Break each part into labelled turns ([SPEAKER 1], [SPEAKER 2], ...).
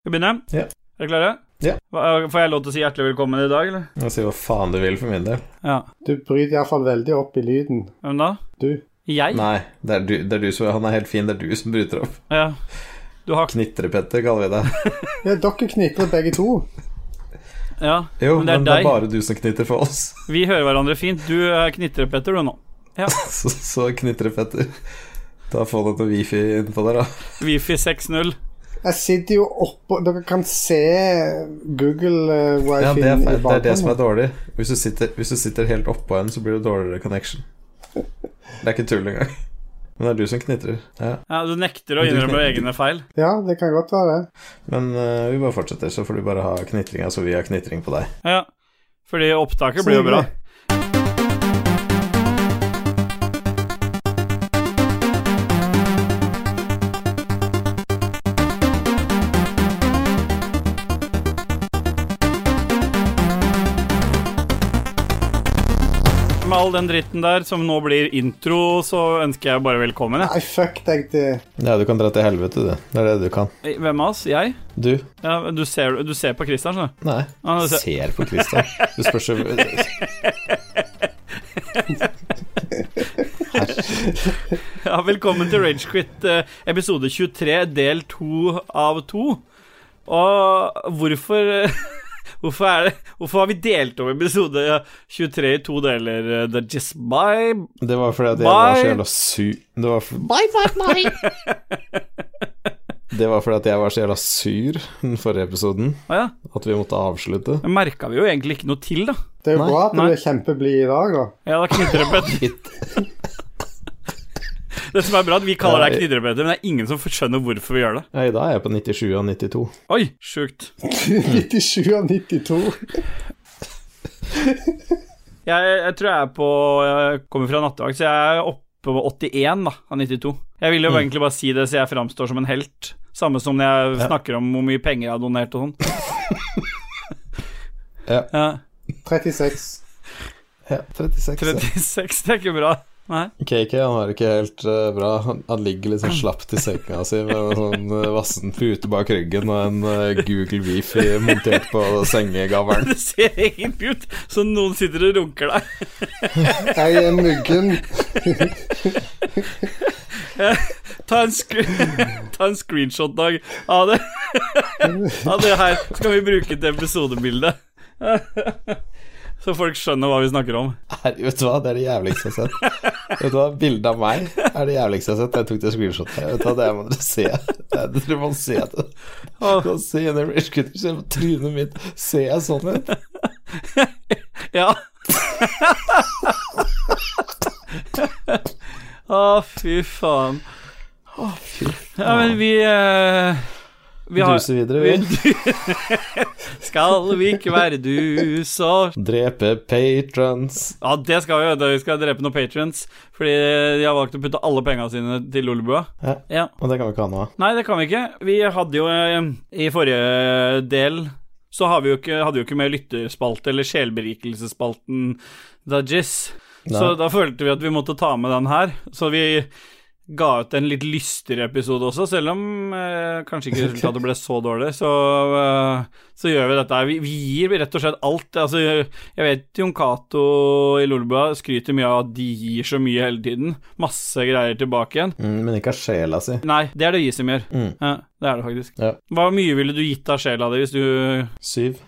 [SPEAKER 1] Skal vi begynne?
[SPEAKER 2] Ja.
[SPEAKER 1] Er dere klare?
[SPEAKER 2] Ja.
[SPEAKER 1] Hva- eh, Får jeg lov til å si hjertelig velkommen i dag, eller?
[SPEAKER 2] Jeg sier hva faen du vil for min del.
[SPEAKER 1] Ja.
[SPEAKER 3] Du bryter iallfall veldig opp i lyden.
[SPEAKER 1] Hvem da?
[SPEAKER 3] Du.
[SPEAKER 1] Jeg?
[SPEAKER 2] Nei, det er du, det er du som Han er helt fin, det er du som bryter opp.
[SPEAKER 1] Ja. Du har
[SPEAKER 2] Knitrepetter kaller vi det.
[SPEAKER 3] Ja, dere knitrer begge to.
[SPEAKER 1] Ja.
[SPEAKER 2] Jo,
[SPEAKER 1] Men det er
[SPEAKER 2] men det
[SPEAKER 1] deg.
[SPEAKER 2] er bare du som knitrer for oss.
[SPEAKER 1] Vi hører hverandre fint. Du eh, knitrer, Petter, du nå.
[SPEAKER 2] Så, så knitrepetter. Da få noe wifi innpå der, da.
[SPEAKER 1] Wifi 6.0.
[SPEAKER 3] Jeg sitter jo oppå Dere kan se Google uh,
[SPEAKER 2] Ja,
[SPEAKER 3] Wifi
[SPEAKER 2] det er,
[SPEAKER 3] i
[SPEAKER 2] feil. det er det som er
[SPEAKER 3] bakgrunnen.
[SPEAKER 2] dårlig. Hvis du sitter, hvis du sitter helt oppå en, så blir det dårligere connection. Det er ikke tull engang. Men det er du som knitrer. Ja.
[SPEAKER 1] Ja, du nekter å
[SPEAKER 2] Du
[SPEAKER 1] innrømme
[SPEAKER 2] knitrer.
[SPEAKER 1] egne feil.
[SPEAKER 3] Ja, det kan godt være det.
[SPEAKER 2] Men eh, vi bare fortsetter, så får du bare ha knitringa så vi har knitring på deg.
[SPEAKER 1] Ja. Fordi opptaket blir jo bra. Med all den dritten der som nå blir intro, så ønsker jeg bare velkommen. Jeg.
[SPEAKER 3] Nei, fuck deg, du.
[SPEAKER 2] Ja, du kan dra til helvete, du. Det er det du kan.
[SPEAKER 1] Hvem av oss? Jeg?
[SPEAKER 2] Du?
[SPEAKER 1] Ja, du, ser, du ser på Christian, skjønner du.
[SPEAKER 2] Nei.
[SPEAKER 1] Han ser-
[SPEAKER 2] Ser på Christian. Du spør så
[SPEAKER 1] Ja, velkommen til Ragequit episode 23, del 2 av 2. Og hvorfor eh, Hvorfor, er det, hvorfor har vi delt over episode 23 i to deler? eh, Det er just by
[SPEAKER 2] Det var fordi at jeg var så
[SPEAKER 1] Bye.
[SPEAKER 2] jævla sur Det var, for... det var fordi at jeg var så jævla sur den forrige episoden
[SPEAKER 1] Å ja.
[SPEAKER 2] at vi måtte avslutte.
[SPEAKER 1] Det merka vi jo egentlig ikke noe til, da.
[SPEAKER 3] Det er jo
[SPEAKER 2] Nei,
[SPEAKER 3] bra at
[SPEAKER 1] nei.
[SPEAKER 3] du er kjempeblid i dag, da.
[SPEAKER 1] Ja, da knitrepetter. Det som er bra, er at vi kaller deg knitrepetter, men det er ingen som skjønner hvorfor vi gjør det.
[SPEAKER 2] Ja, I dag er jeg på 97 av 92.
[SPEAKER 1] Oi, sjukt.
[SPEAKER 3] 97 av 92.
[SPEAKER 1] Jeg, jeg tror jeg er på Jeg kommer fra nattevakt, så jeg er oppe på 81 da, av 92. Jeg ville jo egentlig bare si det, så jeg framstår som en helt. Samme som når jeg snakker om hvor mye penger jeg har donert og sånn.
[SPEAKER 2] Ja.
[SPEAKER 3] 36.
[SPEAKER 2] Ja, 36. ja.
[SPEAKER 1] 36, det er ikke bra. Nei.
[SPEAKER 2] KK han har det ikke helt eh, bra. Han, han ligger litt sånn slapt i senga si med en sånn eh, vassen pute bak ryggen og en eh, Google Wifi montert på sengegavlen.
[SPEAKER 1] Det ser egentlig ut som noen sitter og runker deg.
[SPEAKER 3] Jeg er muggen.
[SPEAKER 1] Ta en, skri- Ta en screenshot, Dag, av det. Av det her skal vi bruke til episodebildet. Så folk skjønner hva vi snakker om.
[SPEAKER 2] Her, vet du hva, det er det jævligste jeg har sett. Vet du hva, Bildet av meg er det jævligste jeg har sett. Jeg tok det screenshotet. Vet du hva, det må dere se. Det er, dere må se det. Du kan se inn i Rage Cutter, se på trynet mitt. Ser jeg sånn ut?
[SPEAKER 1] Ja. Å, fy faen. Ja, men vi eh, Vi har
[SPEAKER 2] Duser videre, vi.
[SPEAKER 1] Skal vi ikke være dus og
[SPEAKER 2] Drepe patrons.
[SPEAKER 1] Ja, det skal vi gjøre. da. Vi skal drepe noen patrions. Fordi de har valgt å putte alle pengene sine til Lolebua.
[SPEAKER 2] Ja.
[SPEAKER 1] Ja.
[SPEAKER 2] Og det kan vi ikke ha noe av.
[SPEAKER 1] Nei, det kan vi ikke. Vi hadde jo eh, i forrige del så har vi jo ikke, hadde vi jo ikke med lytterspalte eller sjelberikelsesspalten Dajis. Så
[SPEAKER 2] Nei.
[SPEAKER 1] da følte vi at vi måtte ta med den her. Så vi ga ut en litt lystigere episode også, selv om eh, kanskje ikke resultatet ble så dårlig. Så, eh, så gjør vi dette her. Vi, vi gir rett og slett alt. Altså, jeg vet Jon Cato i Lolbua skryter mye av at de gir så mye hele tiden. Masse greier tilbake igjen.
[SPEAKER 2] Mm, men ikke av sjela si.
[SPEAKER 1] Nei, det er det vi som gjør.
[SPEAKER 2] Mm.
[SPEAKER 1] Ja, det er det faktisk.
[SPEAKER 2] Ja.
[SPEAKER 1] Hva mye ville du gitt av sjela di hvis du
[SPEAKER 2] Syv.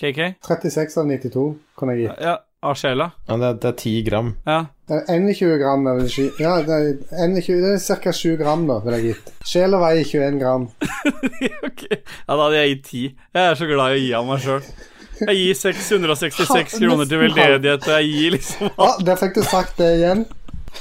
[SPEAKER 1] KK?
[SPEAKER 3] 36 av 92 kunne jeg gi.
[SPEAKER 1] Ja, av sjela?
[SPEAKER 2] Ja, det, er- det er ti gram.
[SPEAKER 1] Ja.
[SPEAKER 3] Det er 21 Eh, gram eller sky- Ja, det er, 21, det er ca. 7 gram, da, vil jeg gitt. Sjela veier 21 gram.
[SPEAKER 1] Ok. Ja, da hadde jeg gitt 10. Jeg er så glad i å gi av meg sjøl. Jeg gir 666 kroner til veldedighet, og jeg gir liksom
[SPEAKER 3] Ja, der fikk du sagt det igjen.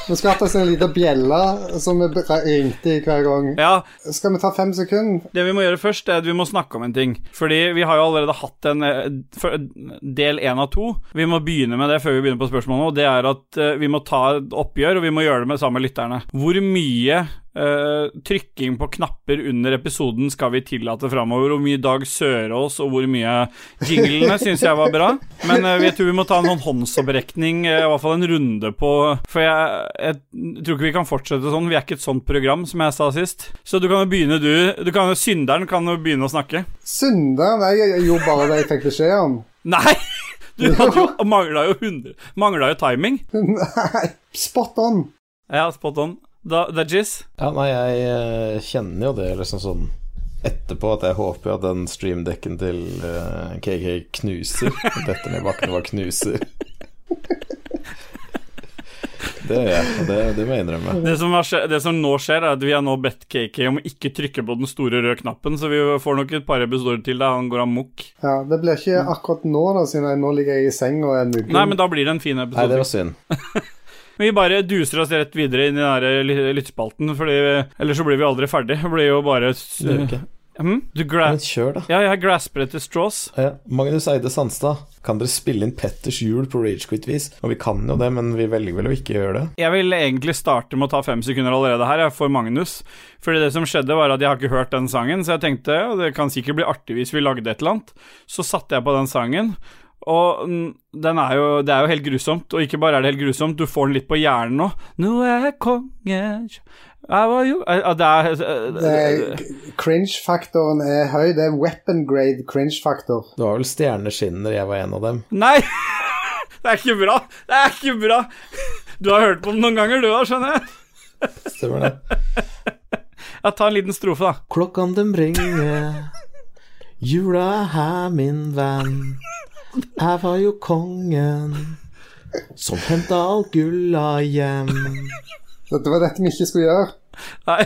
[SPEAKER 3] Nå skal vi ha oss en liten bjelle som vi br- ringte i hver gang.
[SPEAKER 1] Ja,
[SPEAKER 3] Skal vi ta fem sekunder?
[SPEAKER 1] det vi må gjøre først, er at vi må snakke om en ting. Fordi vi har jo allerede hatt en eh, for- del én av to. Vi må begynne med det før vi begynner på spørsmålet nå. Det er at eh, vi må ta et oppgjør, og vi må gjøre det med sammen med lytterne. Hvor mye eh, trykking på knapper under episoden skal vi tillate framover. Hvor mye Dag Sørås og hvor mye jinglene syns jeg var bra. Men eh, jeg tror vi må ta en sånn håndsopprekning, eh, i hvert fall en runde på For jeg, jeg tror ikke vi kan fortsette sånn. Vi er ikke et sånt program, som jeg sa sist. Så du kan jo begynne, du. du kan, jo- synderen kan jo begynne å snakke.
[SPEAKER 3] Synder? Nei, jeg gjorde bare det jeg fikk beskjed om.
[SPEAKER 1] Nei! Du hadde jo, mangla jo 100 Mangla jo timing.
[SPEAKER 3] Nei, spot on.
[SPEAKER 1] Ja, spot on. Da, da Jizz.
[SPEAKER 2] Ja, nei, jeg eh, kjenner jo det liksom sånn etterpå at jeg håper jo at den streamdekken til eh, KK knuser. Dette med bakken var knuser. Det gjør jeg, og det, det må jeg innrømme.
[SPEAKER 1] Det som, har skje, det som nå skjer, er at vi har nå bedt KK om å ikke trykke på den store røde knappen, så vi får nok et par episoder til der han går amok.
[SPEAKER 3] Ja, Det blir ikke akkurat nå, da, siden jeg, nå ligger jeg i seng og er muggen.
[SPEAKER 1] Nei, men da blir det en fin
[SPEAKER 2] Nei, det
[SPEAKER 1] episode.
[SPEAKER 2] var synd.
[SPEAKER 1] vi bare duser oss rett videre inn i den her ly- lyttespalten, fordi ellers så blir vi aldri ferdig. Det blir jo bare s-
[SPEAKER 2] Du gjør ikke.
[SPEAKER 1] Hm? Du gra...
[SPEAKER 2] Men kjør, da.
[SPEAKER 1] Ja, jeg grasper etter straws.
[SPEAKER 2] Ja, Magnus Eide Sandstad, kan dere spille inn Petters jul på Ragequit-vis? Og vi kan jo det, men vi velger vel å ikke gjøre det.
[SPEAKER 1] Jeg vil egentlig starte med å ta fem sekunder allerede her, jeg, for Magnus. Fordi det som skjedde, var at jeg har ikke hørt den sangen, så jeg tenkte ja, det kan sikkert bli artig hvis vi lagde et eller annet. Så satte jeg på den sangen, og mm, den er jo, det er jo helt grusomt. Og ikke bare er det helt grusomt, du får den litt på hjernen nå. Nå er jeg konge Jeg var jo Ja, Det er
[SPEAKER 3] Det er- Cringe-faktoren er høy. Det er weapon grade cringe-faktor.
[SPEAKER 2] Det var vel Stjerneskinner jeg var en av dem.
[SPEAKER 1] Nei! Det er ikke bra! Det er ikke bra! Du har hørt på den noen ganger, du òg, skjønner jeg.
[SPEAKER 2] Stemmer det?
[SPEAKER 1] Ja, ta en liten strofe, da.
[SPEAKER 2] Klokkan dem ringer, jula er her, min venn. Jeg var jo kongen som henta alt gulla hjem.
[SPEAKER 3] Dette var dette vi ikke skulle gjøre.
[SPEAKER 1] Nei.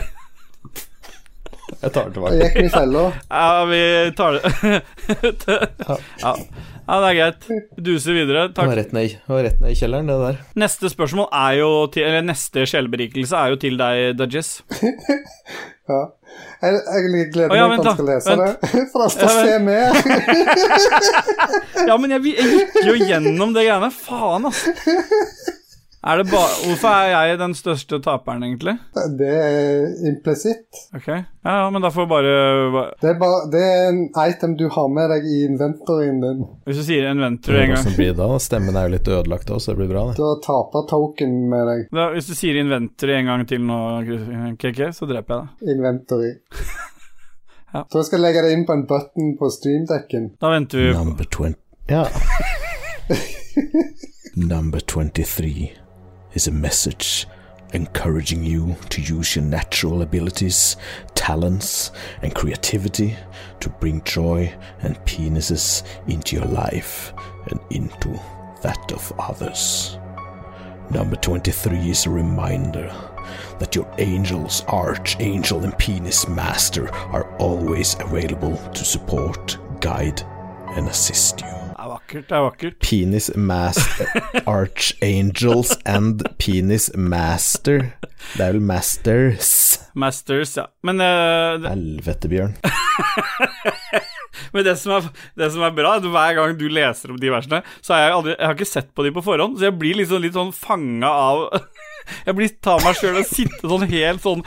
[SPEAKER 2] Jeg tar det
[SPEAKER 3] Jeg
[SPEAKER 2] tilbake.
[SPEAKER 3] gikk vi i fella.
[SPEAKER 1] Ja, vi tar det ja. ja, det er greit. Duser videre.
[SPEAKER 2] Det var
[SPEAKER 1] Takk.
[SPEAKER 2] rett ned, i- det var rett ned i kjelleren, det der.
[SPEAKER 1] Neste spørsmål er jo til Eller neste skjellberikelse er jo til deg, Dudges.
[SPEAKER 3] Ja. Jeg, jeg gleder
[SPEAKER 1] Å, ja,
[SPEAKER 3] meg
[SPEAKER 1] vent da,
[SPEAKER 3] til han skal lese
[SPEAKER 1] vent.
[SPEAKER 3] det. For han
[SPEAKER 1] Ja,
[SPEAKER 3] skal se med.
[SPEAKER 1] Ja, men jeg, vi- jeg gikk jo gjennom det greiene. Faen, ass. Er det ba Hvorfor er jeg den største taperen, egentlig?
[SPEAKER 3] Det er implisitt.
[SPEAKER 1] Ok. Ja, ja, men da får bare
[SPEAKER 3] Det er, bare, det er en item du har med deg i inventoryen din.
[SPEAKER 1] Hvis du sier Inventory en gang
[SPEAKER 2] blir det da? Stemmen er jo litt ødelagt òg, så det blir bra,
[SPEAKER 3] Du har taper-token med deg.
[SPEAKER 1] da, Hvis du sier Inventory en gang til nå, KK, så dreper jeg deg.
[SPEAKER 3] Inventory.
[SPEAKER 1] Ja.
[SPEAKER 3] Så jeg skal legge det inn på en button på streamdekken.
[SPEAKER 1] Da venter vi på
[SPEAKER 4] Number 20.
[SPEAKER 2] Ja.
[SPEAKER 4] Number 23 is a message encouraging you to use your natural abilities, talents, and creativity to bring joy and penises into your life and into that of others. Number 23 is a reminder that your angels, archangel, and penis master are always available to support, guide, and assist you.
[SPEAKER 1] Det er vakkert, det er vakkert.
[SPEAKER 2] Penis Master Archangels and Penis Master. Det er vel Masters.
[SPEAKER 1] Masters, ja. Men eh, det-
[SPEAKER 2] Helvete, Bjørn.
[SPEAKER 1] Men det som, er, det som er bra, er at hver gang du leser om de versene, så har jeg aldri Jeg har ikke sett på de på forhånd, så jeg blir liksom litt sånn fanga av Jeg blir tar meg sjøl og sitter sånn helt sånn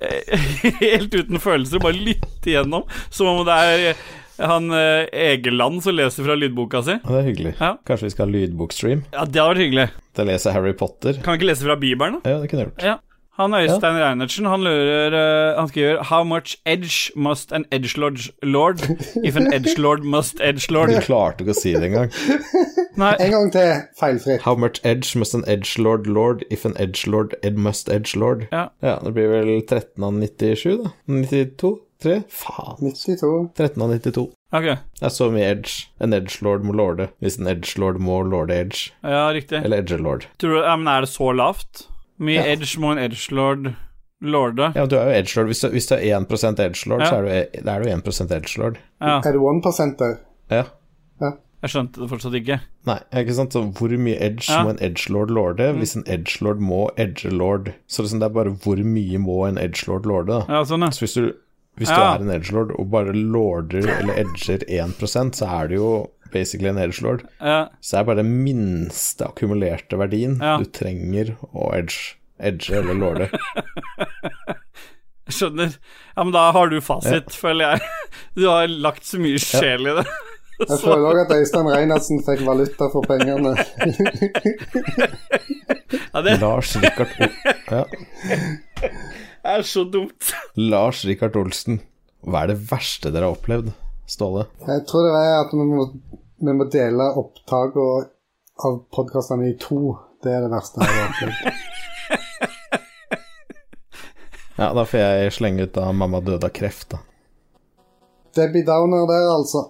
[SPEAKER 1] eh, Helt uten følelser og bare lytte igjennom, som om det er eh, han eh, Egeland som leser fra lydboka si.
[SPEAKER 2] Ja, Det er hyggelig.
[SPEAKER 1] Ja.
[SPEAKER 2] Kanskje vi skal ha lydbokstream?
[SPEAKER 1] Ja, det hadde vært hyggelig.
[SPEAKER 2] Da leser jeg Harry Potter.
[SPEAKER 1] Kan vi ikke lese fra Bibelen, da?
[SPEAKER 2] Ja, det kunne jeg gjort.
[SPEAKER 1] Ja. Han Øystein Reinertsen han lurer eh, Han skriver How much edge must an edge lord if an edge lord must edge lord?
[SPEAKER 2] Du klarte ikke å si det engang.
[SPEAKER 1] Nei.
[SPEAKER 3] En gang til, feilfritt.
[SPEAKER 2] How much edge must an edge lord lord if an edge lord ed must edge lord?
[SPEAKER 1] Ja.
[SPEAKER 2] ja, det blir vel 13 av 97, da. 92? 3? Faen.
[SPEAKER 3] 92.
[SPEAKER 2] 13 av 92.
[SPEAKER 1] Ok.
[SPEAKER 2] Det er så mye edge. En edge lord må lorde hvis en edge lord må lorde edge.
[SPEAKER 1] Ja, riktig.
[SPEAKER 2] Eller edge lord.
[SPEAKER 1] Tror du, ja, men er det så lavt? Mye edge må en edgelord lorde.
[SPEAKER 2] Ja, men du er jo edgelord. Hvis du, hvis du er 1 edgelord,
[SPEAKER 1] Ja.
[SPEAKER 2] så er du, e- da er du 1 edgelord.
[SPEAKER 1] Ja,
[SPEAKER 3] Er det 1 der?
[SPEAKER 2] Ja.
[SPEAKER 1] jeg skjønte det fortsatt ikke.
[SPEAKER 2] Nei, ikke sant. Så hvor mye edge
[SPEAKER 1] Ja. Mm.
[SPEAKER 2] må en edgelord lorde? Hvis en edgelord må edgelord Så liksom det er bare hvor mye må en edgelord lorde, da.
[SPEAKER 1] Ja, sånn, ja.
[SPEAKER 2] Så hvis du, hvis du
[SPEAKER 1] Ja.
[SPEAKER 2] er en edgelord og bare lorder eller edger 1 så er du jo basically en edgelord.
[SPEAKER 1] ja.
[SPEAKER 2] Så det er bare den minste akkumulerte verdien
[SPEAKER 1] Ja.
[SPEAKER 2] du trenger å edge. Edge eller lorde.
[SPEAKER 1] Skjønner. Ja, men da har du fasit, føler jeg. Du har lagt så mye sjel i det.
[SPEAKER 3] Jeg føler òg at Øystein Reinertsen fikk valuta for pengene.
[SPEAKER 1] Ja, det
[SPEAKER 2] Lars Rikard ja.
[SPEAKER 1] er så dumt.
[SPEAKER 2] Lars Rikard Olsen, hva er det verste dere har opplevd, Ståle?
[SPEAKER 3] Jeg tror det er at vi må, vi må dele opptakene av podkastene i to. Det er det verste jeg har opplevd.
[SPEAKER 2] Ja, da får jeg slenge ut da 'Mamma døde av kreft', da.
[SPEAKER 3] Debbie Downer der, altså.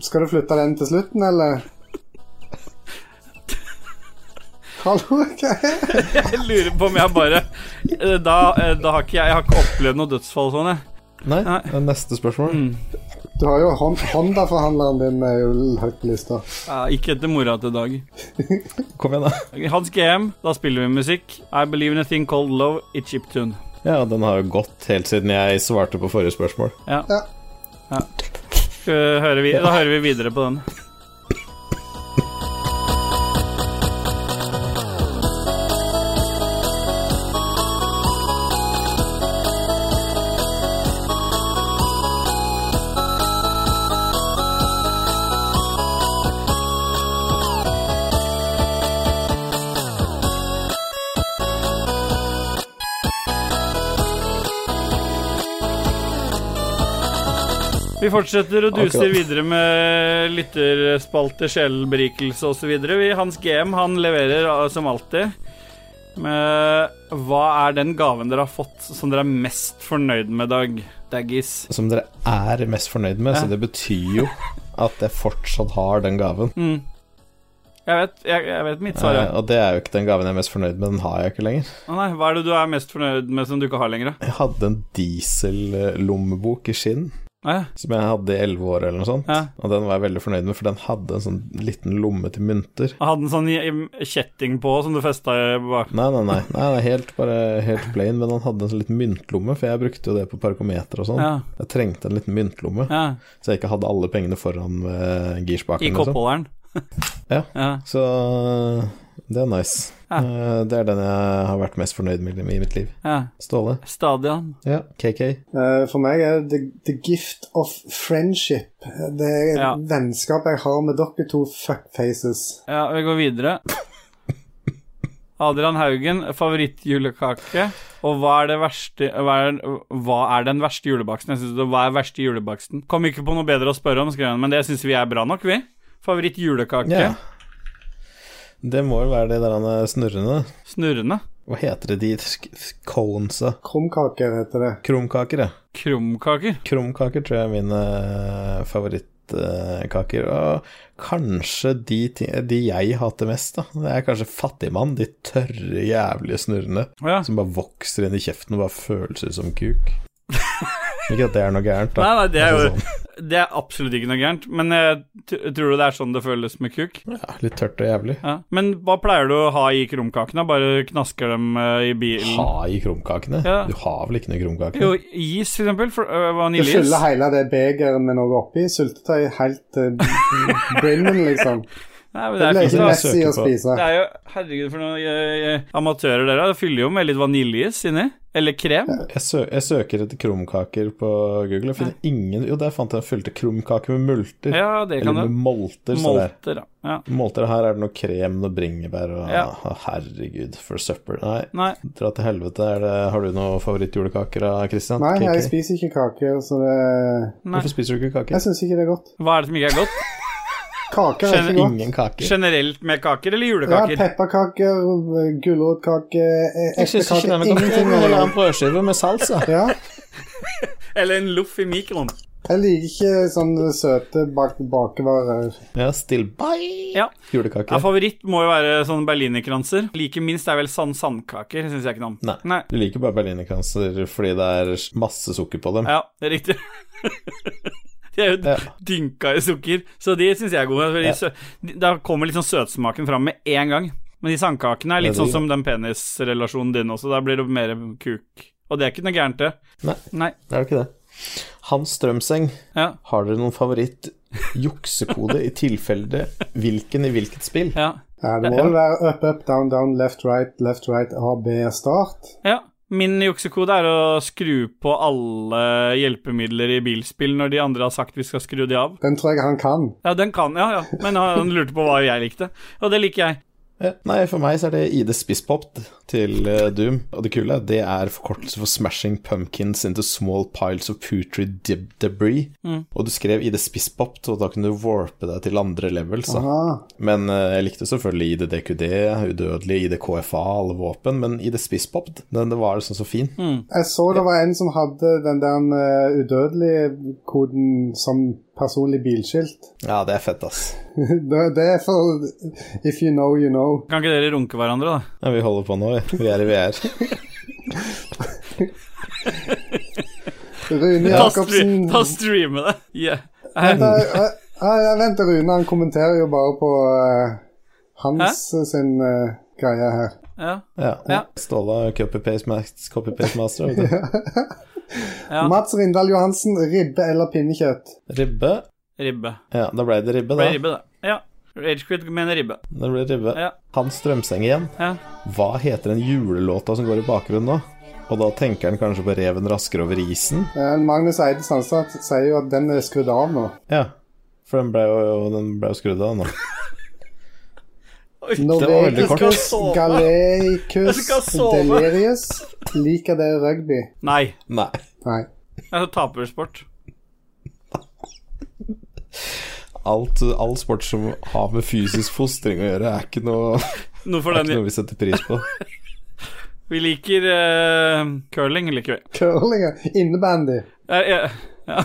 [SPEAKER 3] Skal du flytte den til slutten, eller? Hallo, hva er det?
[SPEAKER 1] Jeg lurer på om jeg bare eh, Da, eh, da har ikke jeg, jeg har ikke opplevd noe dødsfall sånn, jeg.
[SPEAKER 2] Nei,
[SPEAKER 1] Nei. Mm.
[SPEAKER 2] det er neste spørsmål.
[SPEAKER 3] Du har jo Hon- Honda-forhandleren din er jo høyt på lista.
[SPEAKER 1] Ja, ikke etter mora til Dag.
[SPEAKER 2] Kom igjen, da.
[SPEAKER 1] Han skal hjem, da spiller vi musikk. I believe in a thing called love, it's chiptune.
[SPEAKER 2] Ja, den har jo gått helt siden jeg svarte på forrige spørsmål.
[SPEAKER 1] Ja.
[SPEAKER 3] Ja.
[SPEAKER 1] Ja. Skal vi høre vi, da hører vi videre på den. Vi fortsetter og duser
[SPEAKER 2] Akkurat.
[SPEAKER 1] videre med lytterspalte, sjelberikelse osv. Hans GM han leverer ah, som alltid. Med hva er den gaven dere har fått som dere er mest fornøyd med, Dag? Daggis.
[SPEAKER 2] Som dere er mest fornøyd med,
[SPEAKER 1] Ja.
[SPEAKER 2] så det betyr jo at jeg fortsatt har den gaven.
[SPEAKER 1] Mm. Jeg vet, jeg, jeg vet mitt svar, ja.
[SPEAKER 2] Eh, og det er jo ikke den gaven jeg er mest fornøyd med, den har jeg ikke lenger.
[SPEAKER 1] Å nei, hva er det du er mest fornøyd med som du ikke har lenger? da?
[SPEAKER 2] Jeg hadde en diesellommebok i skinn
[SPEAKER 1] Nei,
[SPEAKER 2] som jeg hadde i elleve år eller noe sånt,
[SPEAKER 1] Ja.
[SPEAKER 2] og den var jeg veldig fornøyd med, for den hadde en sånn liten lomme til mynter.
[SPEAKER 1] Jeg hadde en sånn i- i- kjetting på som du festa bak.
[SPEAKER 2] Nei, nei, nei, nei, nei helt, bare helt plain, men den hadde en sånn liten myntlomme, for jeg brukte jo det på parkometer og sånn.
[SPEAKER 1] Ja,
[SPEAKER 2] Jeg trengte en liten myntlomme,
[SPEAKER 1] ja.
[SPEAKER 2] så jeg ikke hadde alle pengene foran ved
[SPEAKER 1] I
[SPEAKER 2] girspaken. liksom.
[SPEAKER 1] koppholderen.
[SPEAKER 2] Ja.
[SPEAKER 1] ja.
[SPEAKER 2] Så eh, det er nice.
[SPEAKER 1] Ja.
[SPEAKER 2] Eh, Det er den jeg har vært mest fornøyd med i mitt liv.
[SPEAKER 1] Ja.
[SPEAKER 2] Ståle?
[SPEAKER 1] Stadion.
[SPEAKER 2] Ja, KK?
[SPEAKER 3] Eh, For meg er det the, the gift of friendship. Det er
[SPEAKER 1] Ja.
[SPEAKER 3] vennskapet jeg har med dere to fuckfaces.
[SPEAKER 1] Ja, vi går videre. Adrian Haugen, favorittjulekake. Og hva er det verste Hva er, hva er den verste julebaksten? Jeg synes det, Hva er verste julebaksten? Kom ikke på noe bedre å spørre om, skrev han, men det syns vi er bra nok, vi. Favorittjulekake.
[SPEAKER 2] Ja. Det må jo være de der han er snurrende
[SPEAKER 1] Snurrende.
[SPEAKER 2] Hva heter det de sk- sk- conesa?
[SPEAKER 3] Krumkaker heter det.
[SPEAKER 2] Krumkaker, ja.
[SPEAKER 1] Krumkaker.
[SPEAKER 2] Krumkaker tror jeg er mine eh, favorittkaker. eh, Og kanskje de, ti- de jeg hater mest, da. Det er kanskje Fattigmann. De tørre, jævlige snurrende.
[SPEAKER 1] Ja.
[SPEAKER 2] Som bare vokser inn i kjeften og bare føles ut som kuk. Ikke at det er noe gærent, da.
[SPEAKER 1] Nei, nei, det er
[SPEAKER 2] Altså
[SPEAKER 1] jo Det er absolutt ikke noe gærent, men jeg t- tror du det er sånn det føles med kuk?
[SPEAKER 2] sånn, ja, litt tørt og jævlig.
[SPEAKER 1] Ja. Men hva pleier du å ha i krumkakene? Bare knasker dem eh, i bilen?
[SPEAKER 2] Ha i krumkakene.
[SPEAKER 1] Ja.
[SPEAKER 2] Du har vel ikke noe krumkake?
[SPEAKER 1] Jo, is, for eksempel. For, øh,
[SPEAKER 3] Du
[SPEAKER 1] vaniljeis.
[SPEAKER 3] fyller hele det begeret med noe oppi. Syltetøy helt eh, til brimmen, liksom.
[SPEAKER 1] Nei, men
[SPEAKER 3] Det
[SPEAKER 1] det er
[SPEAKER 3] blir
[SPEAKER 1] fint,
[SPEAKER 3] ikke
[SPEAKER 1] da.
[SPEAKER 2] jeg
[SPEAKER 3] messy å
[SPEAKER 2] søker på.
[SPEAKER 3] spise.
[SPEAKER 1] Det er jo Herregud, for noen eh, eh, amatører dere er. Det fyller jo med litt vaniljeis inni. Eller krem.
[SPEAKER 2] Jeg, sø jeg søker etter krumkaker på Google. Jeg finner ingen Jo, der fant jeg en fylte krumkake med multer.
[SPEAKER 1] Ja, det kan
[SPEAKER 2] Eller
[SPEAKER 1] du.
[SPEAKER 2] med molter, står det her.
[SPEAKER 1] Molter, ja. ja.
[SPEAKER 2] Molter her er det noe krem, noe bringebær og
[SPEAKER 1] Ja.
[SPEAKER 2] Å, Herregud, for søppel. Nei,
[SPEAKER 1] Nei.
[SPEAKER 2] dra til helvete. Er det, har du noen favorittjulekaker da, Christian?
[SPEAKER 3] Nei, jeg
[SPEAKER 2] KK?
[SPEAKER 3] spiser ikke kaker, så det
[SPEAKER 1] Nei.
[SPEAKER 2] Hvorfor spiser du ikke
[SPEAKER 3] Jeg
[SPEAKER 2] kake?
[SPEAKER 3] syns ikke det er godt.
[SPEAKER 1] Hva er det som ikke er godt?
[SPEAKER 3] Kaker er
[SPEAKER 1] Skjønner
[SPEAKER 3] ikke godt.
[SPEAKER 2] Ingen kaker.
[SPEAKER 1] Generelt med kaker eller
[SPEAKER 3] Ja,
[SPEAKER 1] julekaker?
[SPEAKER 3] Pepperkaker, gulrotkaker, eplekaker Ingenting av
[SPEAKER 2] Eller
[SPEAKER 3] det.
[SPEAKER 2] en brødskive med salsa.
[SPEAKER 3] Ja.
[SPEAKER 1] Eller en loff i mikroen?
[SPEAKER 3] Jeg liker ikke sånne søte bak bakevarer.
[SPEAKER 2] Ja, still bye.
[SPEAKER 1] Ja.
[SPEAKER 2] Julekake.
[SPEAKER 1] Ja, favoritt må jo være sånne berlinerkranser. Liker minst er vel sand sandkaker, syns jeg ikke noe om.
[SPEAKER 2] Nei.
[SPEAKER 1] Nei.
[SPEAKER 2] Du liker bare berlinerkranser fordi det er masse sukker på dem.
[SPEAKER 1] Ja, det er riktig. De er jo
[SPEAKER 2] Ja.
[SPEAKER 1] dynka i sukker, så de syns jeg er gode. For de
[SPEAKER 2] Ja.
[SPEAKER 1] sø- de- Da kommer liksom søtsmaken fram med en gang. Men de sandkakene er litt
[SPEAKER 2] Det
[SPEAKER 1] sånn
[SPEAKER 2] er digg,
[SPEAKER 1] som den penisrelasjonen din også, da blir det mer kuk. Og det er ikke noe gærent, det.
[SPEAKER 2] Nei.
[SPEAKER 1] Nei.
[SPEAKER 2] Er det ikke det? Hans Strømseng,
[SPEAKER 1] Ja.
[SPEAKER 2] har dere noen favoritt juksekode i tilfelle hvilken i hvilket spill?
[SPEAKER 1] Ja.
[SPEAKER 3] Ja, det må vel være up, up, down, down, left, right, left, right, A, B, start.
[SPEAKER 1] Ja. Min juksekode er å skru på alle hjelpemidler i bilspill når de andre har sagt vi skal skru de av.
[SPEAKER 3] Den tror jeg han kan.
[SPEAKER 1] Ja, den kan ja, ja. Men han lurte på hva jeg likte, og det liker jeg.
[SPEAKER 2] Ja, Eh, Nei, for meg så er det ID Spisspop til eh, Doom. Og det kule, det er forkortelse for Smashing Pumpkins into Small Piles of Putrid deb Debris.
[SPEAKER 1] Mm.
[SPEAKER 2] Og du skrev ID Spisspop, og da kunne du warpe deg til andre levels. da.
[SPEAKER 3] Ah,
[SPEAKER 2] Men eh, jeg likte selvfølgelig ID DQD, Udødelig, ID KFA, alle våpen. Men ID Spisspop, den den var liksom så fin.
[SPEAKER 1] Mm.
[SPEAKER 3] jeg så det var en som hadde den der eh, udødelige koden som personlig bilskilt.
[SPEAKER 2] Ja, det er fett, ass.
[SPEAKER 3] det, det er for If you know, you know.
[SPEAKER 1] Kan ikke dere runke hverandre, da?
[SPEAKER 2] Ja, vi holder på nå, vi. Vi er i VR.
[SPEAKER 3] Rune
[SPEAKER 1] Ta, stre
[SPEAKER 3] Jacobsen
[SPEAKER 1] ta streame det. Yeah.
[SPEAKER 3] Vent, eh, eh, eh, vent, Rune han kommenterer jo bare på eh, hans eh, sin eh, greie her.
[SPEAKER 1] Ja.
[SPEAKER 2] Ja.
[SPEAKER 1] Ja.
[SPEAKER 2] Ståle er copy-paste mas- copy-paste master. Vet du.
[SPEAKER 1] Ja.
[SPEAKER 3] Mats Rindal Johansen, ribbe eller pinnekjøtt?
[SPEAKER 2] Ribbe.
[SPEAKER 1] Ribbe.
[SPEAKER 2] Ja, da ble det ribbe,
[SPEAKER 1] Ble
[SPEAKER 2] da.
[SPEAKER 1] ribbe, det. Ja. Ragequid mener ribbe.
[SPEAKER 2] Da ble det ribbe.
[SPEAKER 1] Ja.
[SPEAKER 2] Hans Strømseng igjen.
[SPEAKER 1] Ja.
[SPEAKER 2] Hva heter den julelåta som går i bakgrunnen da? Og da tenker han kanskje på Reven rasker over isen?
[SPEAKER 3] Eh, Magnus Eide Sandstad sier jo at den er skrudd av nå.
[SPEAKER 2] Ja. For den ble jo, den ble jo skrudd av nå.
[SPEAKER 1] Oi,
[SPEAKER 2] Det var veldig kort.
[SPEAKER 1] Jeg skal
[SPEAKER 3] Norvegicus,
[SPEAKER 1] sove. Jeg
[SPEAKER 3] Galeicus,
[SPEAKER 1] skal sove.
[SPEAKER 3] Delirius. Liker dere rugby?
[SPEAKER 1] Nei.
[SPEAKER 2] Nei.
[SPEAKER 3] Nei.
[SPEAKER 1] Det er tapersport.
[SPEAKER 2] Alt, all sport som har med fysisk fostring å gjøre, er ikke noe, er
[SPEAKER 1] Noe for
[SPEAKER 2] ikke
[SPEAKER 1] den
[SPEAKER 2] noe vi setter pris på.
[SPEAKER 1] Vi liker eh, curling, liker vi.
[SPEAKER 3] Curling. Innebandy.
[SPEAKER 1] Eh, eh, ja.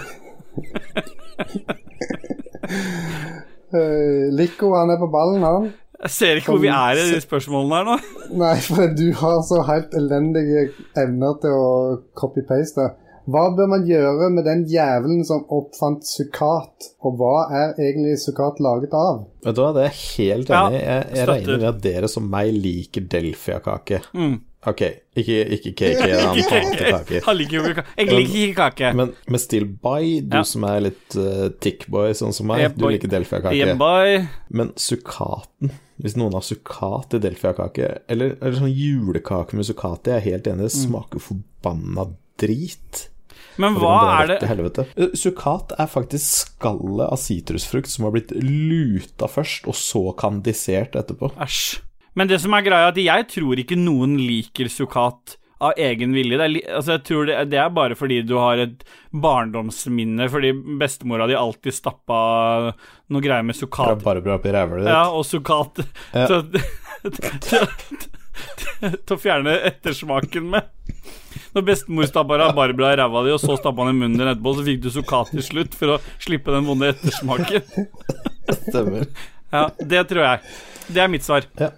[SPEAKER 3] Uh, Lico, han er på ballen, han.
[SPEAKER 1] Jeg ser ikke hvor vi er i de spørsmålene her nå.
[SPEAKER 3] Nei, for du har så helt elendige evner til å copy-paste. Hva bør man gjøre med den jævelen som oppfant sukkat, og hva er egentlig sukkat laget av?
[SPEAKER 2] Vet du hva, det er jeg helt
[SPEAKER 1] Ja,
[SPEAKER 2] enig i. Jeg, jeg
[SPEAKER 1] støtter.
[SPEAKER 2] regner med at dere som meg liker Delfia-kake.
[SPEAKER 1] Mm.
[SPEAKER 2] Ok, ikke, ikke cake, han hater kake.
[SPEAKER 1] Han liker jo ikke kake. Jeg liker ikke kake.
[SPEAKER 2] Men, men still by, du
[SPEAKER 1] Ja.
[SPEAKER 2] som er litt uh, tick-boy, sånn som meg,
[SPEAKER 1] Yep,
[SPEAKER 2] du
[SPEAKER 1] boy.
[SPEAKER 2] liker Delfia-kake.
[SPEAKER 1] Hjemboy.
[SPEAKER 2] Men sukkaten Hvis noen har sukkat i delfiakake, eller, eller sånn julekake med sukkat i, jeg er helt enig,
[SPEAKER 1] Mm.
[SPEAKER 2] det smaker forbanna drit.
[SPEAKER 1] Men
[SPEAKER 2] Og
[SPEAKER 1] hva
[SPEAKER 2] kan dra
[SPEAKER 1] er
[SPEAKER 2] rett til
[SPEAKER 1] det
[SPEAKER 2] helvete. Eh, Sukkat er faktisk skallet av sitrusfrukt som har blitt luta først, og så kandisert etterpå.
[SPEAKER 1] Æsj. Men det som er greia, er at jeg tror ikke noen liker sukkat av egen vilje. Det er, li altså, jeg tror det, det er bare fordi du har et barndomsminne, fordi bestemora di alltid stappa noe greier med
[SPEAKER 2] Det
[SPEAKER 1] sukkat
[SPEAKER 2] er bare bra oppi rævhølet ditt.
[SPEAKER 1] Ja, og sukkat
[SPEAKER 2] Ja.
[SPEAKER 1] til, til, til å fjerne ettersmaken med. Når bestemor stappa rabarbra i ræva di, og så stappa han i munnen din etterpå, så fikk du sukkat til slutt for å slippe den vonde ettersmaken.
[SPEAKER 2] Stemmer.
[SPEAKER 1] Ja, det tror jeg. Det er mitt svar.
[SPEAKER 2] Ja.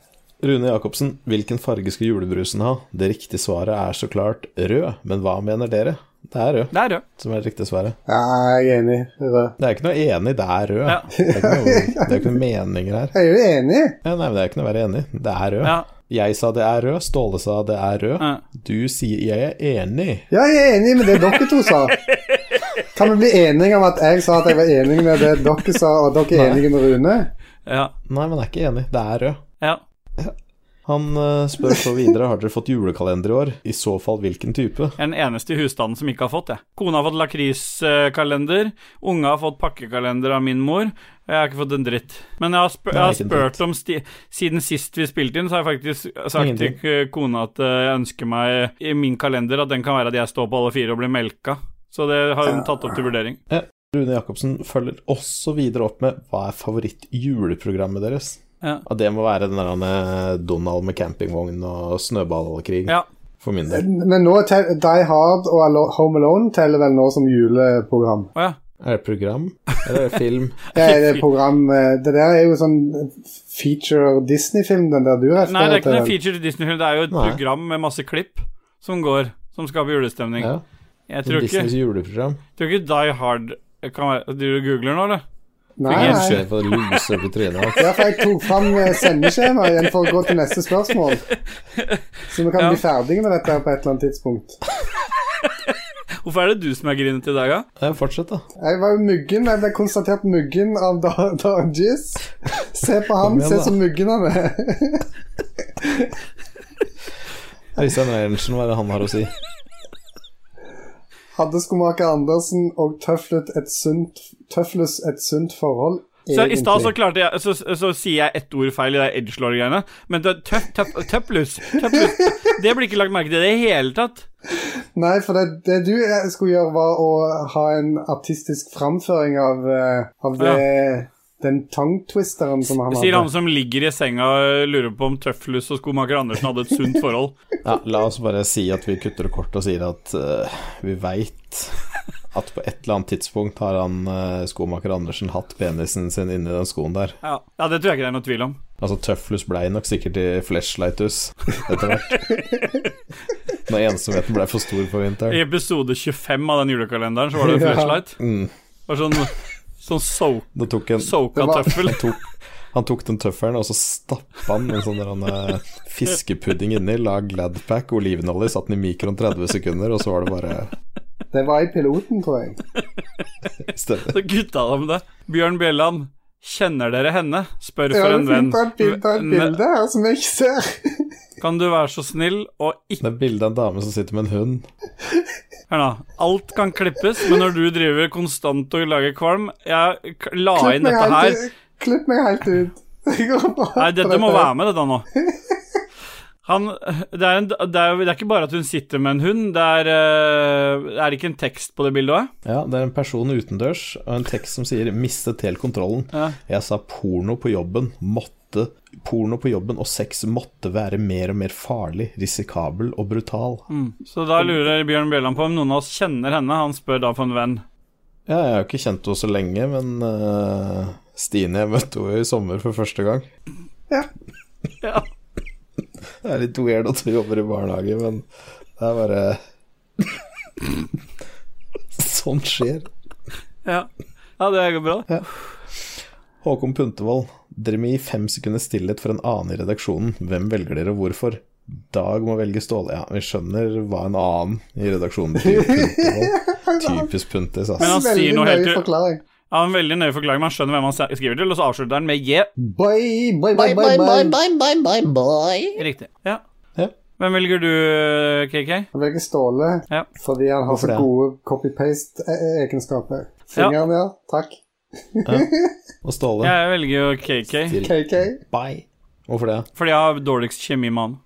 [SPEAKER 2] Rune Jacobsen, hvilken farge skal julebrusen ha? Det riktige svaret er så klart rød, men hva mener dere? Det er rød
[SPEAKER 1] Det er rød.
[SPEAKER 2] som er det riktige svaret.
[SPEAKER 3] Ja, jeg er enig. Rød.
[SPEAKER 2] Det er ikke noe enig, det er rød.
[SPEAKER 1] Ja.
[SPEAKER 2] Det, er ikke noe, det er ikke noe meninger her.
[SPEAKER 3] Jeg er jo enig.
[SPEAKER 2] Ja, nei, men Det er ikke noe å være enig i. Det er rød.
[SPEAKER 1] Ja.
[SPEAKER 2] Jeg sa det er rød, Ståle sa det er rød.
[SPEAKER 1] Ja.
[SPEAKER 2] Du sier jeg er enig.
[SPEAKER 3] Ja, jeg er enig med det dere to sa. Kan vi bli enige om at jeg sa at jeg var enig med det dere sa, og dere er enige med Rune?
[SPEAKER 1] Ja.
[SPEAKER 2] Nei, men jeg er ikke enig. Det er rød.
[SPEAKER 1] Ja.
[SPEAKER 2] Han eh, spør så videre har dere fått julekalender i år. I så fall hvilken type?
[SPEAKER 1] Jeg er den eneste i husstanden som ikke har fått det. Kona har fått lakriskalender, unga har fått pakkekalender av min mor, og jeg har ikke fått en dritt. Men jeg har, spør, jeg
[SPEAKER 2] Nei,
[SPEAKER 1] har
[SPEAKER 2] ikke en
[SPEAKER 1] spurt om sti Siden sist vi spilte inn, så har jeg faktisk sagt
[SPEAKER 2] Ingenting.
[SPEAKER 1] til k- kona at eh, jeg ønsker meg i min kalender at den kan være at jeg står på alle fire og blir melka. Så det har hun tatt opp til vurdering.
[SPEAKER 2] Rune Jacobsen følger også videre opp med hva er favoritt-juleprogrammet deres?
[SPEAKER 1] Ja.
[SPEAKER 2] Og det må være den der han, eh, Donald med campingvogn og snøballkrig,
[SPEAKER 1] Ja.
[SPEAKER 2] for min del.
[SPEAKER 3] Men nå tel- Die Hard og Alo- Home Alone teller vel nå som juleprogram?
[SPEAKER 1] Å ja.
[SPEAKER 2] Er det program? Eller er det film?
[SPEAKER 3] Det er det program eh, Det der er jo sånn feature Disney-film, den der du refererer
[SPEAKER 1] Nei, det er ikke
[SPEAKER 3] til.
[SPEAKER 1] noen feature Disney-film, det er jo et
[SPEAKER 2] Nei.
[SPEAKER 1] program med masse klipp som går, som skaper julestemning.
[SPEAKER 2] Ja,
[SPEAKER 1] Jeg tror ikke,
[SPEAKER 2] Disneys juleprogram.
[SPEAKER 1] tror ikke Die Hard kan være Du googler nå, eller?
[SPEAKER 3] eh, Nei,
[SPEAKER 2] Jeg
[SPEAKER 3] nei.
[SPEAKER 2] ser på det loser på trynet hans.
[SPEAKER 3] Derfor jeg tok fram eh, sendeskjemaet igjen for å gå til neste spørsmål. Så vi kan
[SPEAKER 1] Ja.
[SPEAKER 3] bli ferdige med dette her på et eller annet tidspunkt.
[SPEAKER 1] Hvorfor er det du som er grinete i dag, da?
[SPEAKER 2] Nei, Fortsett, da.
[SPEAKER 3] Jeg var jo muggen. Jeg ble konstatert muggen av Da- Don Giz. Se på
[SPEAKER 2] Kom
[SPEAKER 3] han,
[SPEAKER 2] igjen,
[SPEAKER 3] se
[SPEAKER 2] da.
[SPEAKER 3] så muggen han er.
[SPEAKER 2] Øystein Reinertsen, hva er det han har å si?
[SPEAKER 3] Hadde skomaker Andersen og Tøflet et sunt, Tøflus et sunt forhold?
[SPEAKER 1] Så I stad så klarte jeg så, så, så sier jeg ett ord feil i det edgelord-greiene. Men det- tøff- tøff- tøflus tøflus, Det blir ikke lagt merke til i det hele tatt.
[SPEAKER 3] Nei, for det, det du eh, skulle gjøre, var å ha en artistisk framføring av, eh, av det, den tongue-twisteren som han
[SPEAKER 1] Sier han
[SPEAKER 3] hadde.
[SPEAKER 1] som ligger i senga og lurer på om Tøflus og skomaker Andersen hadde et sunt forhold.
[SPEAKER 2] Ja, la oss bare si at vi kutter det kort og sier at eh, vi veit at på et eller annet tidspunkt har han eh, skomaker Andersen hatt penisen sin inni den skoen der.
[SPEAKER 1] Ja, ja det tror jeg ikke det er noe tvil om.
[SPEAKER 2] Altså, Tøflus blei nok sikkert i fleshlightus etter hvert. Når ensomheten blei for stor for
[SPEAKER 1] I
[SPEAKER 2] vinteren.
[SPEAKER 1] episode 25 av den julekalenderen så var det en
[SPEAKER 3] Ja.
[SPEAKER 1] flashlight.
[SPEAKER 2] Mm.
[SPEAKER 1] Og sånn, sånn so
[SPEAKER 2] Da tok en
[SPEAKER 1] soka
[SPEAKER 3] Det var-
[SPEAKER 1] tøffel.
[SPEAKER 2] Han tok, han tok den tøffelen, og så stappa han en sånn der han, eh, fiskepudding inni, la Gladpack, olivenolje, satt den i mikroen 30 sekunder, og så var det bare
[SPEAKER 3] Det var i piloten, tror jeg.
[SPEAKER 2] stemmer.
[SPEAKER 1] Så gutta dem det. Bjørn Bjelland, kjenner dere henne? Spør
[SPEAKER 3] Jeg
[SPEAKER 1] for
[SPEAKER 3] har
[SPEAKER 1] en venn.
[SPEAKER 3] funnet et bilde av et bilde her som jeg ikke ser.
[SPEAKER 1] Kan du være så snill å ikke
[SPEAKER 2] Det er bilde av en dame som sitter med en hund.
[SPEAKER 1] Hør nå. Alt kan klippes, men når du driver konstant og lager kvalm Jeg k- la
[SPEAKER 3] Klipp
[SPEAKER 1] inn
[SPEAKER 3] meg,
[SPEAKER 1] dette her.
[SPEAKER 3] helt, ut- klipp meg helt ut. Jeg går bare
[SPEAKER 1] Nei,
[SPEAKER 3] på
[SPEAKER 1] dette må
[SPEAKER 3] her.
[SPEAKER 1] være med, dette nå. Han, det, er en, det, er, jo- det er ikke bare at hun sitter med en hund. Det er, eh, er det ikke en tekst på det bildet òg?
[SPEAKER 2] Ja, det er en person utendørs, og en tekst som sier 'mistet helt kontrollen'.
[SPEAKER 1] Ja.
[SPEAKER 2] Jeg sa 'porno på jobben måtte Porno på jobben og sex måtte være mer og mer farlig, risikabel og brutal.
[SPEAKER 1] Så da lurer Bjørn Bjelland på om noen av oss kjenner henne. Han spør da for en venn.
[SPEAKER 2] Ja, jeg har jo ikke kjent henne så lenge, men eh, Stine jeg møtte henne i sommer for første gang.
[SPEAKER 1] Ja.
[SPEAKER 2] Det er litt weird at du jobber i barnehage, men det er bare Sånt skjer.
[SPEAKER 1] Ja, ja det går bra.
[SPEAKER 2] Håkon Puntervold, dere må gi fem sekunder stillhet for en annen i redaksjonen. Hvem velger dere, og hvorfor? Dag må velge Ståle. Ja, vi skjønner hva en annen i redaksjonen betyr. Puntervold. Typisk Puntis,
[SPEAKER 1] Men
[SPEAKER 2] ass.
[SPEAKER 1] han sier
[SPEAKER 3] Veldig
[SPEAKER 1] noe helt
[SPEAKER 3] nøye
[SPEAKER 1] u-
[SPEAKER 3] forklaring.
[SPEAKER 1] Ja, en veldig nøye forklaring, men han skjønner hvem han skriver til, og så avslutter han med J.
[SPEAKER 3] Boy, boy, boy, boy, boy.
[SPEAKER 1] Riktig. Ja.
[SPEAKER 2] Ja.
[SPEAKER 1] Hvem velger du, KK?
[SPEAKER 3] Han velger Ståle
[SPEAKER 1] Ja.
[SPEAKER 3] fordi han har
[SPEAKER 2] Hvorfor
[SPEAKER 3] så
[SPEAKER 2] det?
[SPEAKER 3] gode copy-paste-egenskaper. Fingeren, ja. Takk.
[SPEAKER 2] Og Ståle,
[SPEAKER 1] Jeg velger jo KK,
[SPEAKER 3] KK.
[SPEAKER 2] bye. Hvorfor det?
[SPEAKER 1] fordi jeg har dårligst kjemi med han.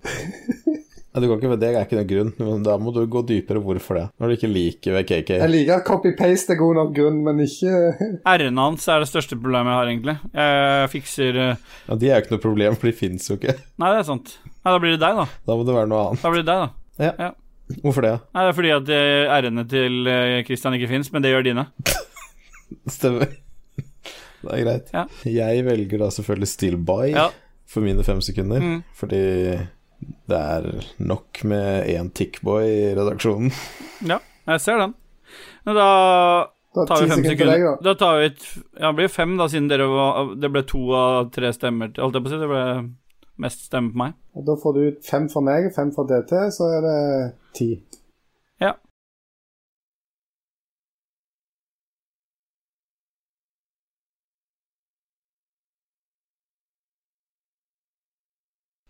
[SPEAKER 2] Nei, Du kan ikke, det er ikke noen grunn, men da må du gå dypere hvorfor det. Når du ikke liker VKK.
[SPEAKER 3] Jeg liker at copy-paste er god nok grunn, men ikke
[SPEAKER 1] R-en hans er det største problemet jeg har, egentlig. Jeg fikser eh,
[SPEAKER 2] Ja, de er jo ikke noe problem, for de fins jo ikke.
[SPEAKER 1] Nei, det er sant. Nei, da blir det deg, da.
[SPEAKER 2] Da må det være noe annet.
[SPEAKER 1] Da blir det deg, da.
[SPEAKER 2] Hvorfor det?
[SPEAKER 1] Nei, det er fordi at eh, R-ene til eh, Christian ikke fins, men det gjør dine.
[SPEAKER 2] Stemmer. Det er greit.
[SPEAKER 1] Ja.
[SPEAKER 2] Jeg velger da selvfølgelig Steel Boy
[SPEAKER 1] Ja.
[SPEAKER 2] for mine fem sekunder,
[SPEAKER 1] Mm.
[SPEAKER 2] fordi det er nok med én Tickboy i redaksjonen.
[SPEAKER 1] Jeg ser den. Men da
[SPEAKER 3] Da
[SPEAKER 1] tar vi fem
[SPEAKER 3] til
[SPEAKER 1] sekunder.
[SPEAKER 3] deg, da.
[SPEAKER 1] da tar vi et Ja, det blir fem, da, siden dere var Det ble to av tre stemmer til Holdt jeg på å si, det ble mest stemme på meg.
[SPEAKER 3] Og da får du fem fra meg, fem fra DT, så er det ti.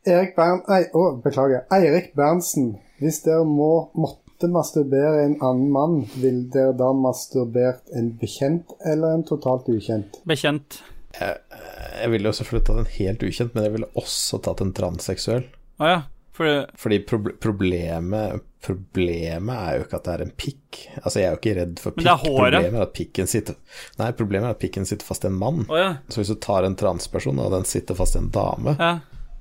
[SPEAKER 3] Erik Bern... Nei, å, beklager. Eirik Berntsen. Hvis dere må, måtte masturbere en annen mann, vil dere da masturbert en bekjent eller en totalt ukjent?
[SPEAKER 1] Bekjent.
[SPEAKER 2] Jeg ville jo selvfølgelig tatt en helt ukjent, men jeg ville også tatt en transseksuell.
[SPEAKER 1] Å ja. For
[SPEAKER 2] Fordi proble- problemet Problemet er jo ikke at det er en pikk. Altså, jeg er jo ikke redd for pikk.
[SPEAKER 1] Men det er håret.
[SPEAKER 2] Problemet er at pikken sitter Nei, problemet er at pikken sitter fast i en mann.
[SPEAKER 1] Å ja.
[SPEAKER 2] Så hvis du tar en transperson og den sitter fast i en dame,
[SPEAKER 1] Ja.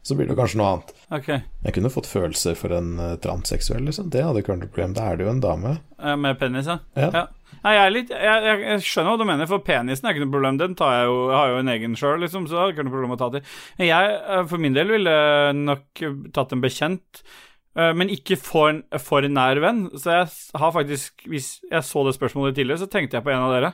[SPEAKER 2] så blir det kanskje noe annet.
[SPEAKER 1] Ok.
[SPEAKER 2] Jeg kunne fått følelser for en eh, transseksuell, liksom. Det hadde ikke vært noe problem. Da er det jo en dame.
[SPEAKER 1] Eh, Med penis, ja.
[SPEAKER 2] Ja.
[SPEAKER 1] ja. Nei, jeg er litt jeg, jeg, jeg skjønner hva du mener, for penisen er ikke noe problem. Den tar jeg jo Jeg har jo en egen sjøl, liksom, så det er ikke noe problem å ta til. Men Jeg, eh, for min del, ville nok tatt en bekjent. eh, Men ikke for, en- for en nær venn. Så jeg s- har faktisk Hvis jeg så det spørsmålet tidligere, så tenkte jeg på en av dere.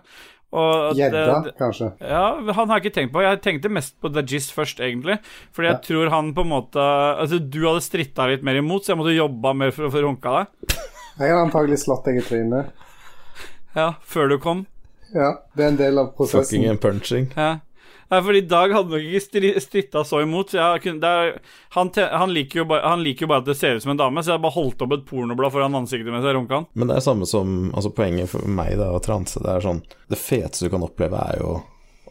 [SPEAKER 1] Og at, eh,
[SPEAKER 3] Gjedda, kanskje.
[SPEAKER 1] ja, han har jeg ikke tenkt på. Jeg tenkte mest på Dajis først, egentlig. Fordi jeg tror han på en måte Altså, du hadde stritta litt mer imot, så jeg måtte jobba mer for å få runka deg.
[SPEAKER 3] Jeg har antagelig slått deg i trynet.
[SPEAKER 1] Ja, før du kom.
[SPEAKER 3] Ja, det er en del av prosessen.
[SPEAKER 2] Fucking and punching.
[SPEAKER 1] Ja. Nei, fordi Dag hadde nok ikke stri- stritta så imot. Så jeg kunne, det er, han, te- han, liker jo bare, han liker jo bare at det ser ut som en dame, så jeg bare holdt opp et pornoblad foran ansiktet mens jeg runka han.
[SPEAKER 2] Men det er samme som altså Poenget for meg da å transe, det er sånn Det feteste du kan oppleve, er jo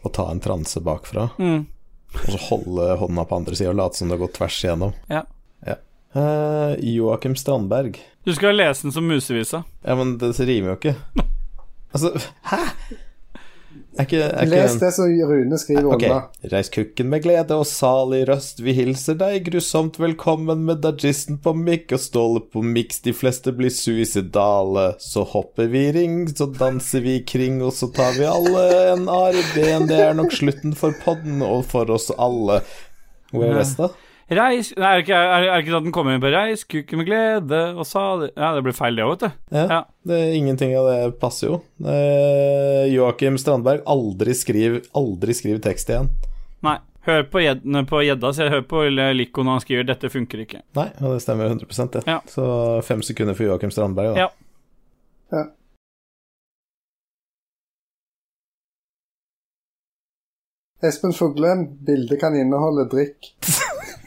[SPEAKER 2] å ta en transe bakfra. Og så holde hånda på andre sida og late som det har gått tvers igjennom.
[SPEAKER 1] Ja.
[SPEAKER 2] Ja. Eh, Joakim Strandberg.
[SPEAKER 1] Du skal lese den som musevisa.
[SPEAKER 2] Ja, men det rimer jo ikke. Altså, hæ?! Er ikke, er ikke
[SPEAKER 3] Les det som Rune skriver
[SPEAKER 2] Ok.
[SPEAKER 3] unna.
[SPEAKER 2] Reis kukken med glede og salig røst, vi hilser deg grusomt velkommen med dajisten på mikk og ståle på miks, de fleste blir suicidale. Så hopper vi i ring, så danser vi i kring, og så tar vi alle en ar i ben, det er nok slutten for podden og for oss alle. Hvor er resten, da?
[SPEAKER 1] Reis Nei, er det ikke, er, er det ikke sånn at den kommer inn på reis, kukken med glede og sa det Ja, det blir feil, det òg, vet du.
[SPEAKER 2] Ja.
[SPEAKER 1] Ja.
[SPEAKER 2] Det, ingenting av det passer jo. Eh, Joakim Strandberg, aldri skriv, aldri skriv tekst igjen.
[SPEAKER 1] Nei. Hør på gjeddene på gjedda, så jeg hører på Lico når han skriver 'dette funker ikke'.
[SPEAKER 2] Nei, og det stemmer 100 det.
[SPEAKER 1] Ja.
[SPEAKER 2] Så fem sekunder for Joakim Strandberg, da.
[SPEAKER 1] Ja.
[SPEAKER 3] Espen Fuglem, bildet kan inneholde drikk.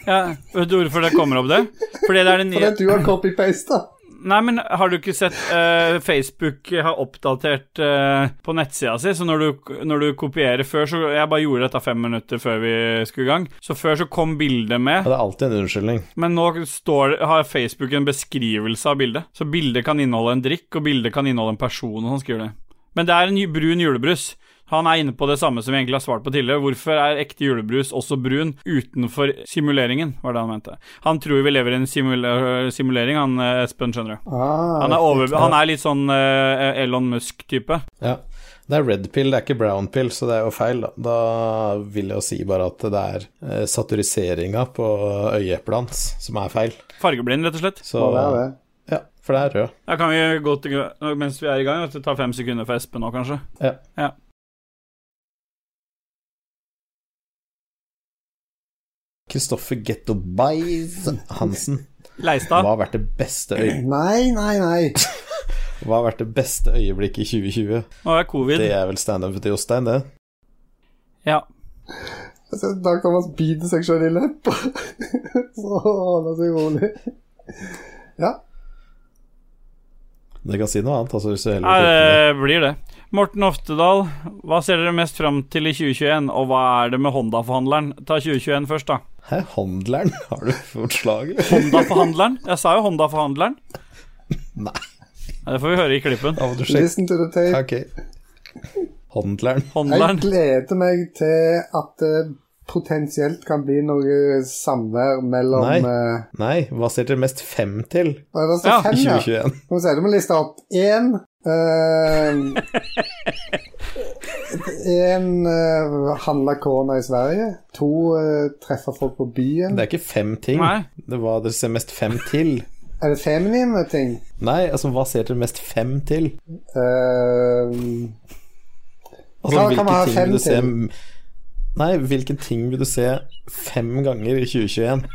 [SPEAKER 1] Ja, Vet du hvorfor det kommer opp, det? Fordi det er den
[SPEAKER 3] For
[SPEAKER 1] nye
[SPEAKER 3] det du har copy-pasta.
[SPEAKER 1] Nei, men har du ikke sett eh, Facebook har oppdatert eh, på nettsida si, så når du, når du kopierer før, så Jeg bare gjorde dette fem minutter før vi skulle i gang. Så før så kom bildet med,
[SPEAKER 2] Ja, Det er alltid en unnskyldning.
[SPEAKER 1] men nå står, det- har Facebook en beskrivelse av bildet. Så bildet kan inneholde en drikk, og bildet kan inneholde en person, og sånn skriver det. Men det er en ju- brun julebrus. Han er inne på det samme som vi egentlig har svart på tidligere. Hvorfor er ekte julebrus også brun utenfor simuleringen, var det han mente. Han tror vi lever i en simula- simulering, han eh, Espen, skjønner du.
[SPEAKER 3] Ah,
[SPEAKER 1] Han er, over, han er litt sånn eh, Elon Musk-type.
[SPEAKER 2] Ja. Det er red pill, det er ikke brown pill, så det er jo feil. Da, da vil jeg jo si bare at det er eh, saturiseringa på øyeeplet hans som er feil.
[SPEAKER 1] Fargeblind, rett og slett.
[SPEAKER 2] Så,
[SPEAKER 3] må være det.
[SPEAKER 2] Ja, for det er rød.
[SPEAKER 1] Da kan vi gå til nå, Mens vi er i gang, at det tar fem sekunder for Espen nå, kanskje.
[SPEAKER 2] Ja.
[SPEAKER 1] Ja.
[SPEAKER 2] Kristoffer Getto Bays Hansen. Hva
[SPEAKER 1] Leistad.
[SPEAKER 2] har vært det beste, øy
[SPEAKER 3] Nei, nei, nei.
[SPEAKER 2] Hva har vært det beste øyeblikket i 2020?
[SPEAKER 1] Nå er det covid.
[SPEAKER 2] Det er vel standup til Jostein, det?
[SPEAKER 1] Ja.
[SPEAKER 3] Altså, Dag Thomas biter seg selv i leppa. Så holder seg rolig.
[SPEAKER 2] Du kan si noe annet. Altså, hvis du heller
[SPEAKER 1] Nei,
[SPEAKER 2] vil klippe det.
[SPEAKER 1] det eh, blir det. Morten Oftedal, hva ser dere mest fram til i 2021, og hva er det med Honda-forhandleren? Ta 2021 først, da.
[SPEAKER 2] Hæ, handleren? Har du fått slag? eller?
[SPEAKER 1] Honda-forhandleren? Jeg sa jo Honda-forhandleren.
[SPEAKER 2] Nei.
[SPEAKER 1] Ja, Det får vi høre i klippen.
[SPEAKER 2] Da må du sjekke.
[SPEAKER 3] Listen to the tape.
[SPEAKER 2] Ok. Handleren.
[SPEAKER 3] Jeg
[SPEAKER 1] Handleren.
[SPEAKER 3] gleder meg til at det potensielt kan bli noe samvær mellom
[SPEAKER 2] Nei.
[SPEAKER 3] eh,
[SPEAKER 2] Nei, hva ser dere mest frem til
[SPEAKER 3] Hva er det
[SPEAKER 1] Ja.
[SPEAKER 3] som
[SPEAKER 2] i
[SPEAKER 3] fem, ja?
[SPEAKER 2] 2021?
[SPEAKER 3] Nå må vi se, du må liste opp ehm, én Én handla korona eh, i Sverige. To uh, treffer folk på byen.
[SPEAKER 2] Det er ikke fem ting.
[SPEAKER 1] Nei.
[SPEAKER 2] Det er hva dere ser mest frem til.
[SPEAKER 3] Er det feminine ting?
[SPEAKER 2] Nei, altså hva ser dere mest frem til?
[SPEAKER 3] Eh,
[SPEAKER 2] Altså
[SPEAKER 3] Hva kan man ha
[SPEAKER 2] hvilke ting vil
[SPEAKER 3] frem
[SPEAKER 2] du se
[SPEAKER 3] til?
[SPEAKER 2] Nei, hvilke ting vil du se fem ganger i 2021?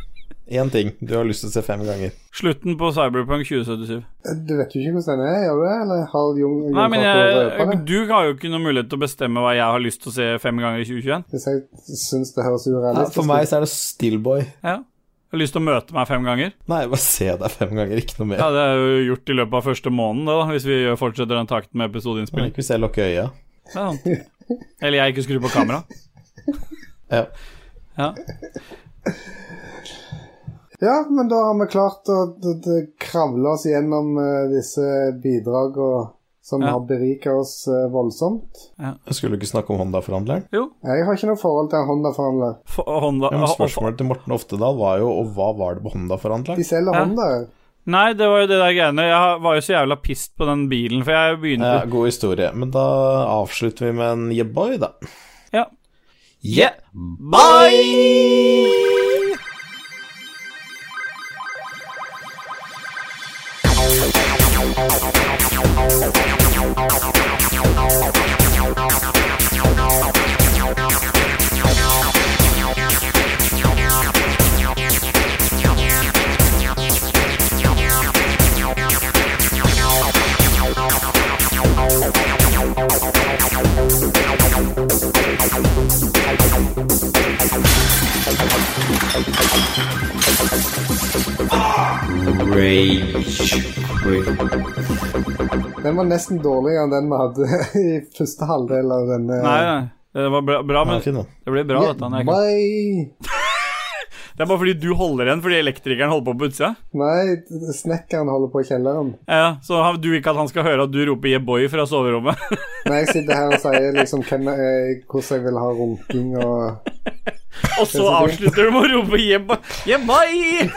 [SPEAKER 2] Én ting du har lyst til å se fem ganger.
[SPEAKER 1] Slutten på Cyberpunk 2077.
[SPEAKER 3] du vet jo ikke hvordan den er, gjør du? Eller har Jon Jon
[SPEAKER 1] Nei, men
[SPEAKER 3] klart å røpe
[SPEAKER 1] jeg,
[SPEAKER 3] det?
[SPEAKER 1] du har jo ikke noen mulighet til å bestemme hva jeg har lyst til å se fem ganger i 2021.
[SPEAKER 3] Hvis jeg syns det høres
[SPEAKER 2] Nei,
[SPEAKER 3] urealistisk
[SPEAKER 2] for meg så er det Stillboy.
[SPEAKER 1] Ja. Jeg har lyst til å møte meg fem ganger.
[SPEAKER 2] Nei, bare se deg fem ganger, ikke noe mer.
[SPEAKER 1] Ja, Det er jo gjort i løpet av første måneden, det da, hvis vi gjør- fortsetter den takten med
[SPEAKER 2] Kan
[SPEAKER 1] episodeinnspilling.
[SPEAKER 2] ikke vi se lukke øya?
[SPEAKER 1] Det er sant. Eller jeg ikke skrur på kamera.
[SPEAKER 2] Ja.
[SPEAKER 1] Ja.
[SPEAKER 3] Ja, men da har vi klart å d- d- kravle oss gjennom eh, disse bidragene som
[SPEAKER 1] Ja.
[SPEAKER 3] har berika oss eh, voldsomt.
[SPEAKER 2] Skulle du ikke snakke om Honda-forhandleren?
[SPEAKER 1] Jo.
[SPEAKER 3] Jeg har ikke noe forhold til en Honda-forhandler.
[SPEAKER 1] f- Honda
[SPEAKER 2] Ja, men
[SPEAKER 1] og- og-
[SPEAKER 2] spørsmålet til Morten Oftedal var jo og hva var det på Honda-forhandleren?
[SPEAKER 3] De selger
[SPEAKER 1] Ja.
[SPEAKER 3] Hondaer.
[SPEAKER 1] Nei, det var jo det der greiene. Jeg var jo så jævla pissed på den bilen, for jeg begynte
[SPEAKER 2] Ja, god historie. Men da avslutter vi med en yeah boy, da.
[SPEAKER 1] Ja.
[SPEAKER 2] Yeah bye!
[SPEAKER 5] Thank Rage quit.
[SPEAKER 3] Den var nesten dårligere enn den vi hadde i første halvdel av denne.
[SPEAKER 1] Nei, nei. Det var bra, bra
[SPEAKER 4] Ja,
[SPEAKER 1] men
[SPEAKER 4] fin, da.
[SPEAKER 1] det ble bra, dette. Nei, ikke-
[SPEAKER 3] Nei,
[SPEAKER 1] det er bare fordi du holder igjen fordi elektrikeren holder på på utsida.
[SPEAKER 3] nei, snekkeren holder på i kjelleren.
[SPEAKER 1] Ja, så har du ikke at han skal høre at du roper 'yeah, boy' fra soverommet.
[SPEAKER 3] Når jeg sitter her og sier liksom hvem jeg, hvordan jeg vil ha runking og
[SPEAKER 1] Og så avslutter du med å rope 'yeah, boy'. Yeah, boy!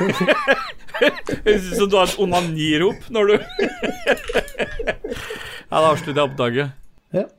[SPEAKER 1] Så du har et onanirop når du Ja, da avslutter jeg oppdraget.